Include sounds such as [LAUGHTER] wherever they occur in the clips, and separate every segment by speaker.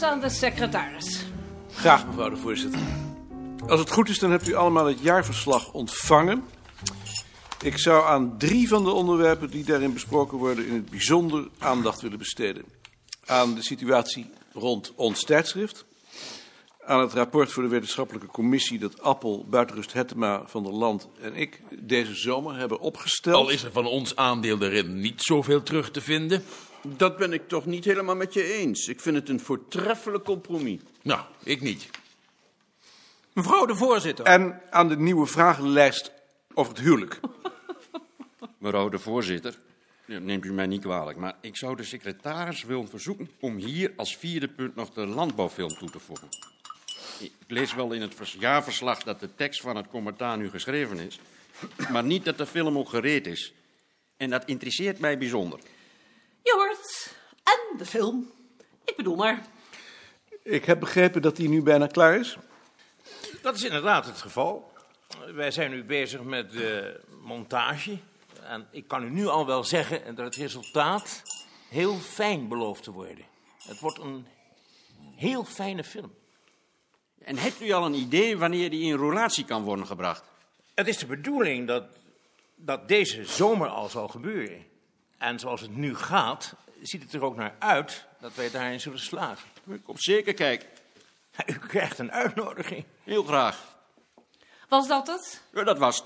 Speaker 1: aan de secretaris.
Speaker 2: Graag, mevrouw de voorzitter. Als het goed is, dan hebt u allemaal het jaarverslag ontvangen. Ik zou aan drie van de onderwerpen die daarin besproken worden... in het bijzonder aandacht willen besteden. Aan de situatie rond ons tijdschrift... aan het rapport voor de wetenschappelijke commissie... dat Appel, Buitenrust Hettema, Van der Land en ik deze zomer hebben opgesteld.
Speaker 3: Al is er van ons aandeel erin niet zoveel terug te vinden.
Speaker 4: Dat ben ik toch niet helemaal met je eens. Ik vind het een voortreffelijk compromis.
Speaker 3: Nou, ik niet.
Speaker 5: Mevrouw de voorzitter.
Speaker 2: En aan de nieuwe vragenlijst over het huwelijk.
Speaker 6: Mevrouw de voorzitter, eh, neemt u mij niet kwalijk, maar ik zou de secretaris willen verzoeken om hier als vierde punt nog de landbouwfilm toe te voegen. Ik lees wel in het vers- jaarverslag dat de tekst van het commentaar nu geschreven is, maar niet dat de film ook gereed is. En dat interesseert mij bijzonder.
Speaker 1: Je hoort het. En de film. Ik bedoel maar.
Speaker 2: Ik heb begrepen dat die nu bijna klaar is.
Speaker 5: Dat is inderdaad het geval. Wij zijn nu bezig met de montage. En ik kan u nu al wel zeggen dat het resultaat heel fijn belooft te worden. Het wordt een heel fijne film.
Speaker 6: En hebt u al een idee wanneer die in roulatie kan worden gebracht?
Speaker 5: Het is de bedoeling dat, dat deze zomer al zal gebeuren. En zoals het nu gaat, ziet het er ook naar uit dat wij daarin zullen slagen.
Speaker 6: Ik op zeker kijk.
Speaker 5: U krijgt een uitnodiging.
Speaker 6: Heel graag.
Speaker 1: Was dat het?
Speaker 6: Ja, dat was het.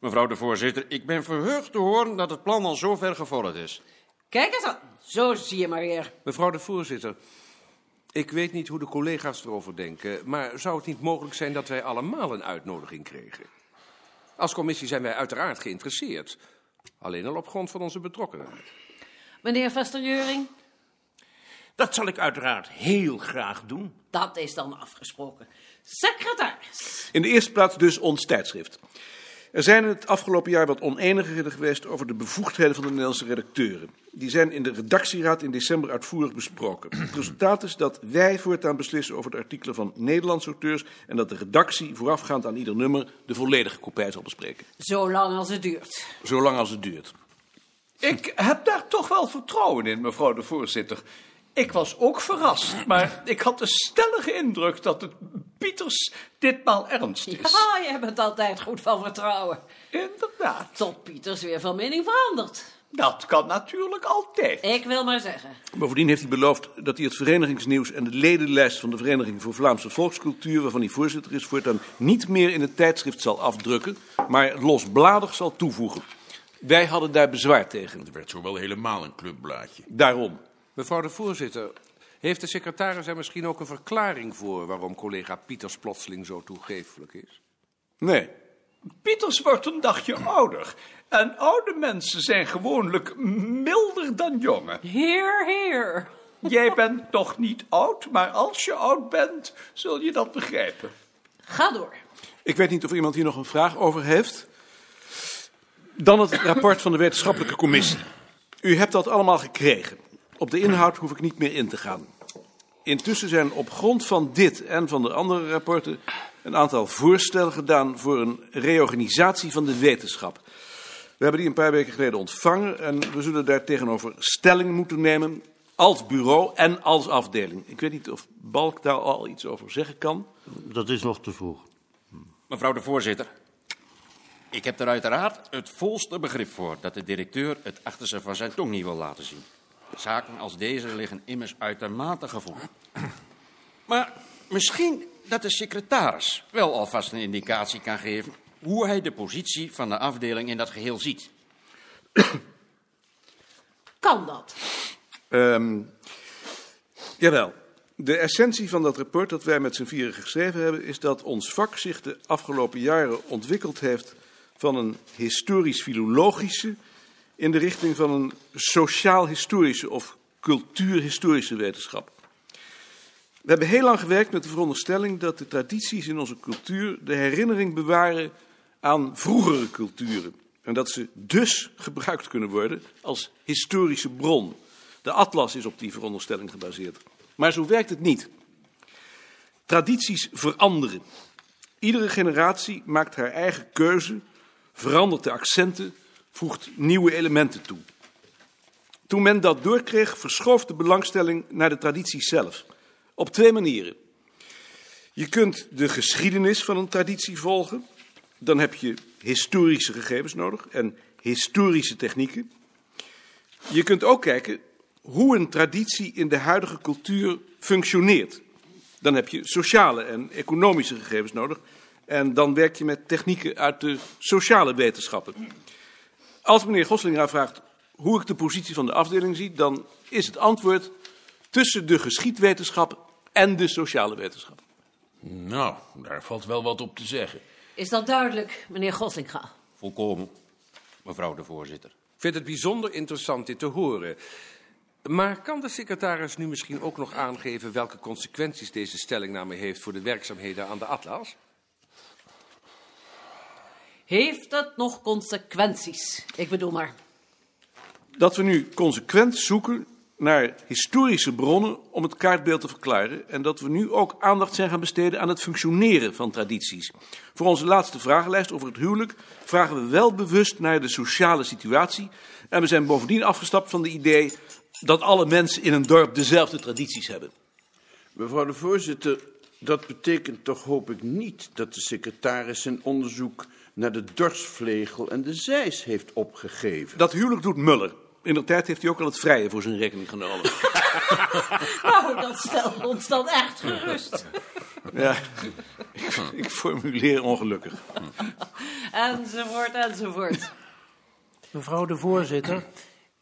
Speaker 6: Mevrouw de voorzitter, ik ben verheugd te horen dat het plan al zover gevorderd is.
Speaker 1: Kijk eens aan. Zo zie je maar weer.
Speaker 7: Mevrouw de voorzitter, ik weet niet hoe de collega's erover denken, maar zou het niet mogelijk zijn dat wij allemaal een uitnodiging kregen? Als commissie zijn wij uiteraard geïnteresseerd, alleen al op grond van onze betrokkenheid.
Speaker 1: Meneer Vesterjeuring,
Speaker 5: Dat zal ik uiteraard heel graag doen.
Speaker 1: dat is dan afgesproken. Secretaris.
Speaker 2: In de eerste plaats dus ons tijdschrift. Er zijn het afgelopen jaar wat oneenigheden geweest over de bevoegdheden van de Nederlandse redacteuren. Die zijn in de redactieraad in december uitvoerig besproken. Het resultaat is dat wij voortaan beslissen over de artikelen van Nederlandse auteurs en dat de redactie voorafgaand aan ieder nummer de volledige kopij zal bespreken.
Speaker 1: Zolang als het duurt.
Speaker 2: Zolang als het duurt.
Speaker 8: Ik heb daar toch wel vertrouwen in, mevrouw de voorzitter. Ik was ook verrast, maar ik had de stellige indruk dat het Pieters ditmaal ernst is.
Speaker 1: Ja, je bent altijd goed van vertrouwen.
Speaker 8: Inderdaad,
Speaker 1: Tot Pieters weer van mening verandert.
Speaker 8: dat kan natuurlijk altijd.
Speaker 1: Ik wil maar zeggen.
Speaker 2: Bovendien heeft hij beloofd dat hij het verenigingsnieuws en de ledenlijst van de Vereniging voor Vlaamse Volkscultuur, waarvan hij voorzitter is, voortaan niet meer in het tijdschrift zal afdrukken, maar losbladig zal toevoegen. Wij hadden daar bezwaar tegen.
Speaker 3: Het werd zo wel helemaal een clubblaadje.
Speaker 2: Daarom.
Speaker 7: Mevrouw de voorzitter, heeft de secretaris er misschien ook een verklaring voor waarom collega Pieters plotseling zo toegeeflijk is?
Speaker 2: Nee.
Speaker 8: Pieters wordt een dagje ouder. En oude mensen zijn gewoonlijk milder dan jonge.
Speaker 1: Heer, heer.
Speaker 8: Jij bent nog niet oud, maar als je oud bent, zul je dat begrijpen.
Speaker 1: Ga door.
Speaker 2: Ik weet niet of iemand hier nog een vraag over heeft. Dan het rapport van de wetenschappelijke commissie. U hebt dat allemaal gekregen. Op de inhoud hoef ik niet meer in te gaan. Intussen zijn op grond van dit en van de andere rapporten een aantal voorstellen gedaan voor een reorganisatie van de wetenschap. We hebben die een paar weken geleden ontvangen en we zullen daar tegenover stelling moeten nemen als bureau en als afdeling. Ik weet niet of Balk daar al iets over zeggen kan.
Speaker 9: Dat is nog te vroeg.
Speaker 6: Mevrouw de voorzitter, ik heb er uiteraard het volste begrip voor dat de directeur het achterste van zijn tong niet wil laten zien. Zaken als deze liggen immers uitermate gevoelig. Maar misschien dat de secretaris wel alvast een indicatie kan geven hoe hij de positie van de afdeling in dat geheel ziet.
Speaker 1: Kan dat?
Speaker 2: Ehm jawel. De essentie van dat rapport dat wij met z'n vieren geschreven hebben... is dat ons vak zich de afgelopen jaren ontwikkeld heeft... van een historisch-filologische... in de richting van een sociaal-historische of cultuurhistorische wetenschap. We hebben heel lang gewerkt met de veronderstelling dat de tradities in onze cultuur de herinnering bewaren aan vroegere culturen. En dat ze dus gebruikt kunnen worden als historische bron. De atlas is op die veronderstelling gebaseerd. Maar zo werkt het niet. Tradities veranderen. Iedere generatie maakt haar eigen keuze, verandert de accenten, voegt nieuwe elementen toe. Toen men dat doorkreeg, verschoof de belangstelling naar de traditie zelf. Op twee manieren. Je kunt de geschiedenis van een traditie volgen. Dan heb je historische gegevens nodig en historische technieken. Je kunt ook kijken hoe een traditie in de huidige cultuur functioneert. Dan heb je sociale en economische gegevens nodig. En dan werk je met technieken uit de sociale wetenschappen. Als meneer Goslinga vraagt hoe ik de positie van de afdeling zie, dan is het antwoord tussen de geschiedwetenschap en de sociale wetenschap.
Speaker 3: Nou, daar valt wel wat op te zeggen.
Speaker 1: Is dat duidelijk, meneer Goslinga?
Speaker 6: Volkomen, mevrouw de voorzitter.
Speaker 7: Ik vind het bijzonder interessant dit te horen. Maar kan de secretaris nu misschien ook nog aangeven welke consequenties deze stellingname heeft voor de werkzaamheden aan de Atlas?
Speaker 1: Heeft dat nog consequenties? Ik bedoel maar.
Speaker 2: Dat we nu consequent zoeken naar historische bronnen om het kaartbeeld te verklaren. En dat we nu ook aandacht zijn gaan besteden aan het functioneren van tradities. Voor onze laatste vragenlijst over het huwelijk vragen we wel bewust naar de sociale situatie. En we zijn bovendien afgestapt van de idee dat alle mensen in een dorp dezelfde tradities hebben.
Speaker 4: Mevrouw de voorzitter, dat betekent toch hoop ik niet dat de secretaris zijn onderzoek naar de dorsvlegel en de zeis heeft opgegeven.
Speaker 2: Dat huwelijk doet Muller. In de tijd heeft hij ook al het vrije voor zijn rekening genomen.
Speaker 1: Nou, [LAUGHS] dat stelt ons dan echt gerust.
Speaker 2: Ja, ik, ik formuleer ongelukkig.
Speaker 1: Enzovoort, enzovoort.
Speaker 9: Mevrouw de voorzitter,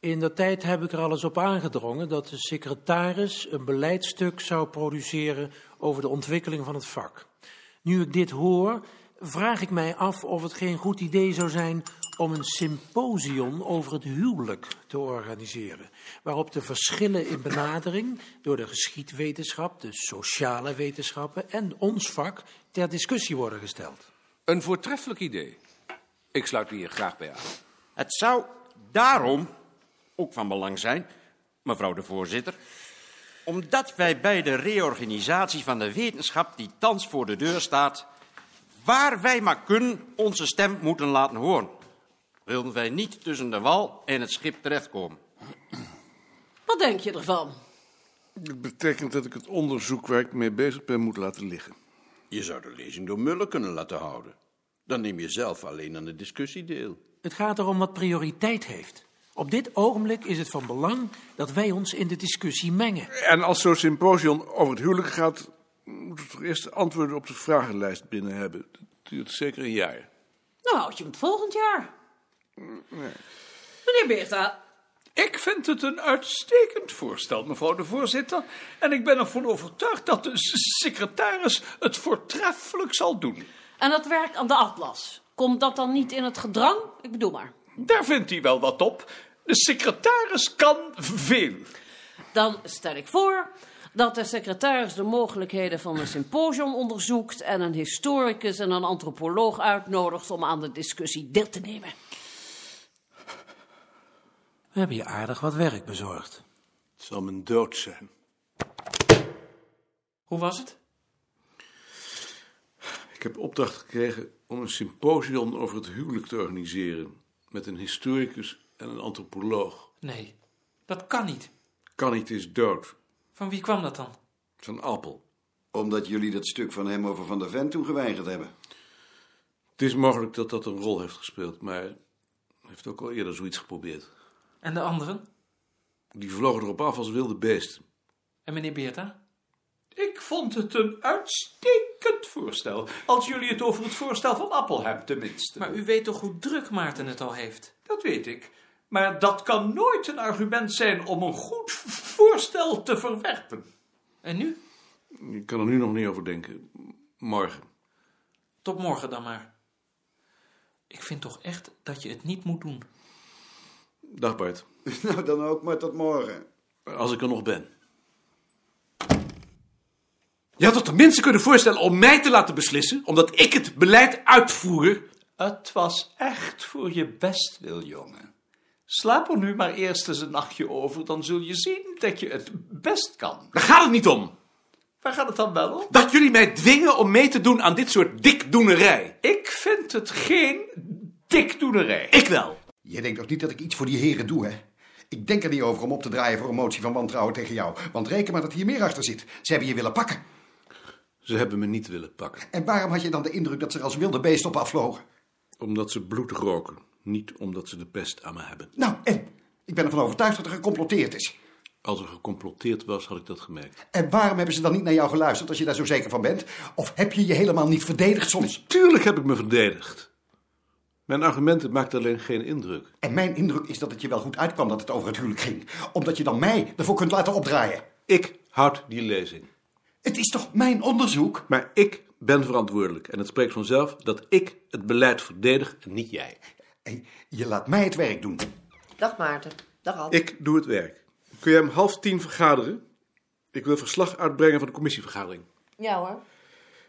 Speaker 9: in de tijd heb ik er alles op aangedrongen dat de secretaris een beleidstuk zou produceren over de ontwikkeling van het vak. Nu ik dit hoor, vraag ik mij af of het geen goed idee zou zijn om een symposium over het huwelijk te organiseren, waarop de verschillen in benadering door de geschiedwetenschap, de sociale wetenschappen en ons vak ter discussie worden gesteld.
Speaker 7: Een voortreffelijk idee. Ik sluit me hier graag bij aan.
Speaker 6: Het zou daarom ook van belang zijn, mevrouw de voorzitter, omdat wij bij de reorganisatie van de wetenschap die thans voor de deur staat, waar wij maar kunnen, onze stem moeten laten horen. Wilden wij niet tussen de wal en het schip terechtkomen.
Speaker 1: Wat denk je ervan?
Speaker 2: Dat betekent dat ik het onderzoek waar ik mee bezig ben moet laten liggen.
Speaker 4: Je zou de lezing door Muller kunnen laten houden. Dan neem je zelf alleen aan de discussie deel.
Speaker 9: Het gaat erom wat prioriteit heeft. Op dit ogenblik is het van belang dat wij ons in de discussie mengen.
Speaker 2: En als zo'n symposium over het huwelijk gaat, moeten we toch eerst antwoorden op de vragenlijst binnen hebben. Dat duurt zeker een jaar.
Speaker 1: Nou, houd je hem volgend jaar. Meneer Beerta,
Speaker 8: Ik vind het een uitstekend voorstel, mevrouw de voorzitter. En ik ben ervan overtuigd dat de s- secretaris het voortreffelijk zal doen.
Speaker 1: en dat werk aan de atlas, komt dat dan niet in het gedrang? Ik bedoel maar.
Speaker 8: Daar vindt hij wel wat op. De secretaris kan veel.
Speaker 1: Dan stel ik voor dat de secretaris de mogelijkheden van een symposium onderzoekt en een historicus en een antropoloog uitnodigt om aan de discussie deel te nemen.
Speaker 9: We hebben je aardig wat werk bezorgd.
Speaker 2: Het zal mijn dood zijn.
Speaker 9: Hoe was het?
Speaker 2: Ik heb opdracht gekregen om een symposium over het huwelijk te organiseren. Met een historicus en een antropoloog.
Speaker 10: Nee, dat kan niet.
Speaker 2: Kan niet is dood.
Speaker 10: Van wie kwam dat dan?
Speaker 2: Van Appel.
Speaker 11: Omdat jullie dat stuk van hem over Van der Ven toen geweigerd hebben.
Speaker 2: Het is mogelijk dat dat een rol heeft gespeeld, maar hij heeft ook al eerder zoiets geprobeerd.
Speaker 10: En de anderen?
Speaker 2: Die vlogen erop af als wilde beesten.
Speaker 10: En meneer Beerta?
Speaker 8: Ik vond het een uitstekend voorstel. Als jullie het over het voorstel van Appel hebben, tenminste.
Speaker 10: Maar u weet toch hoe druk Maarten het al heeft?
Speaker 8: Dat weet ik. Maar dat kan nooit een argument zijn om een goed v- voorstel te verwerpen.
Speaker 10: En nu?
Speaker 2: Ik kan er nu nog niet over denken. Morgen.
Speaker 10: Tot morgen dan maar. Ik vind toch echt dat je het niet moet doen.
Speaker 2: Dag Bart.
Speaker 11: Nou, [LAUGHS] dan ook maar tot morgen.
Speaker 2: Als ik er nog ben.
Speaker 12: Je had toch de mensen kunnen voorstellen om mij te laten beslissen, omdat ik het beleid uitvoer.
Speaker 8: Het was echt voor je best wil, jongen. Slaap er nu maar eerst eens een nachtje over, dan zul je zien dat je het best kan.
Speaker 12: Daar gaat het niet om.
Speaker 8: Waar gaat het dan wel om?
Speaker 12: Dat jullie mij dwingen om mee te doen aan dit soort dikdoenerij.
Speaker 8: Ik vind het geen dikdoenerij.
Speaker 12: Ik wel.
Speaker 11: Je denkt toch niet dat ik iets voor die heren doe, hè?
Speaker 9: Ik denk er niet over om op te draaien voor een motie van wantrouwen tegen jou. Want reken maar dat hier meer achter zit. Ze hebben je willen pakken.
Speaker 2: Ze hebben me niet willen pakken.
Speaker 9: En waarom had je dan de indruk dat ze er als wilde beest op afvlogen?
Speaker 2: Omdat ze bloed roken. Niet omdat ze de pest aan me hebben.
Speaker 9: Nou, en? Ik ben ervan overtuigd dat er gecomploteerd is.
Speaker 2: Als er gecomploteerd was, had ik dat gemerkt.
Speaker 9: En waarom hebben ze dan niet naar jou geluisterd als je daar zo zeker van bent? Of heb je je helemaal niet verdedigd soms?
Speaker 2: Tuurlijk heb ik me verdedigd. Mijn argumenten maakten alleen geen indruk.
Speaker 9: En mijn indruk is dat het je wel goed uitkwam dat het over het huwelijk ging. Omdat je dan mij ervoor kunt laten opdraaien.
Speaker 2: Ik houd die lezing.
Speaker 9: Het is toch mijn onderzoek?
Speaker 2: Maar ik ben verantwoordelijk. En het spreekt vanzelf dat ik het beleid verdedig en niet jij.
Speaker 9: je laat mij het werk doen.
Speaker 1: Dag Maarten. Dag Ad.
Speaker 2: Ik doe het werk. Kun jij om half tien vergaderen? Ik wil verslag uitbrengen van de commissievergadering.
Speaker 1: Ja hoor.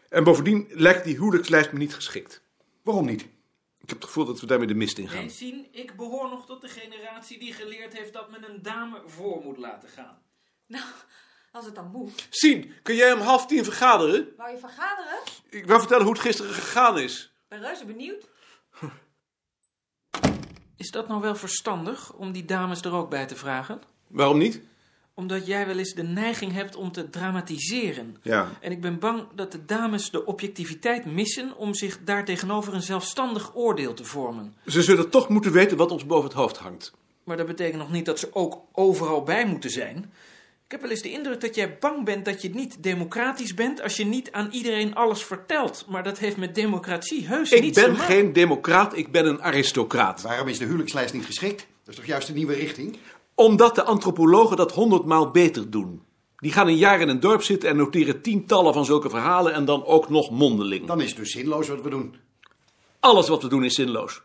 Speaker 2: En bovendien lijkt die huwelijkslijst me niet geschikt.
Speaker 9: Waarom niet?
Speaker 2: Ik heb het gevoel dat we daarmee de mist ingaan.
Speaker 5: Nee, zien, ik behoor nog tot de generatie die geleerd heeft dat men een dame voor moet laten gaan.
Speaker 1: Nou, als het dan moet.
Speaker 2: Sien, kun jij om half tien vergaderen?
Speaker 1: Wou je vergaderen?
Speaker 2: Ik wil vertellen hoe het gisteren gegaan is.
Speaker 1: Ik ben reuze benieuwd.
Speaker 5: Is dat nou wel verstandig om die dames er ook bij te vragen?
Speaker 2: Waarom niet?
Speaker 5: Omdat jij wel eens de neiging hebt om te dramatiseren.
Speaker 2: Ja.
Speaker 5: En ik ben bang dat de dames de objectiviteit missen om zich daartegenover een zelfstandig oordeel te vormen.
Speaker 2: Ze zullen toch moeten weten wat ons boven het hoofd hangt.
Speaker 5: Maar dat betekent nog niet dat ze ook overal bij moeten zijn. Ik heb wel eens de indruk dat jij bang bent dat je niet democratisch bent als je niet aan iedereen alles vertelt. Maar dat heeft met democratie heus
Speaker 2: Ik
Speaker 5: niets te
Speaker 2: ben
Speaker 5: maken.
Speaker 2: geen democraat, ik ben een aristocraat.
Speaker 9: Waarom is de huwelijkslijst niet geschikt? Dat is toch juist de nieuwe richting?
Speaker 2: Omdat de antropologen dat honderdmaal beter doen. Die gaan een jaar in een dorp zitten en noteren tientallen van zulke verhalen en dan ook nog mondeling.
Speaker 9: Dan is het dus zinloos wat we doen.
Speaker 2: Alles wat we doen is zinloos.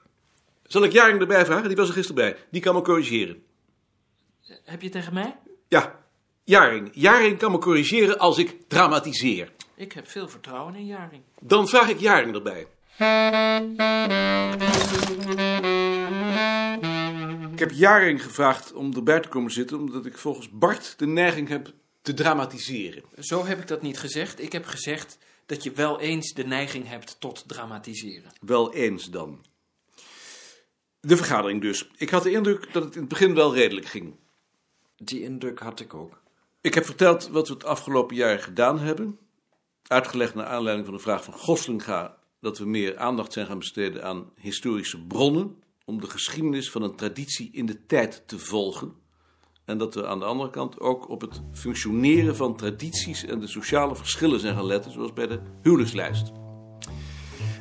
Speaker 2: Zal ik Jaring erbij vragen? Die was er gisteren bij. Die kan me corrigeren.
Speaker 5: Heb je tegen mij?
Speaker 2: Ja, Jaring. Jaring kan me corrigeren als ik dramatiseer.
Speaker 5: Ik heb veel vertrouwen in Jaring.
Speaker 2: Dan vraag ik Jaring erbij. Ik heb Jaring gevraagd om erbij te komen zitten, omdat ik volgens Bart de neiging heb te dramatiseren.
Speaker 5: Zo heb ik dat niet gezegd. Ik heb gezegd dat je wel eens de neiging hebt tot dramatiseren.
Speaker 2: Wel eens dan. De vergadering dus. Ik had de indruk dat het in het begin wel redelijk ging.
Speaker 7: Die indruk had ik ook.
Speaker 2: Ik heb verteld wat we het afgelopen jaar gedaan hebben. Uitgelegd naar aanleiding van de vraag van Goslinga dat we meer aandacht zijn gaan besteden aan historische bronnen. om de geschiedenis van een traditie in de tijd te volgen. En dat we aan de andere kant ook op het functioneren van tradities en de sociale verschillen zijn gaan letten, zoals bij de huwelijkslijst.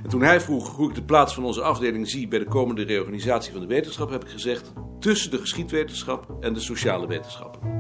Speaker 2: En toen hij vroeg hoe ik de plaats van onze afdeling zie bij de komende reorganisatie van de wetenschap, heb ik gezegd tussen de geschiedwetenschap en de sociale wetenschappen.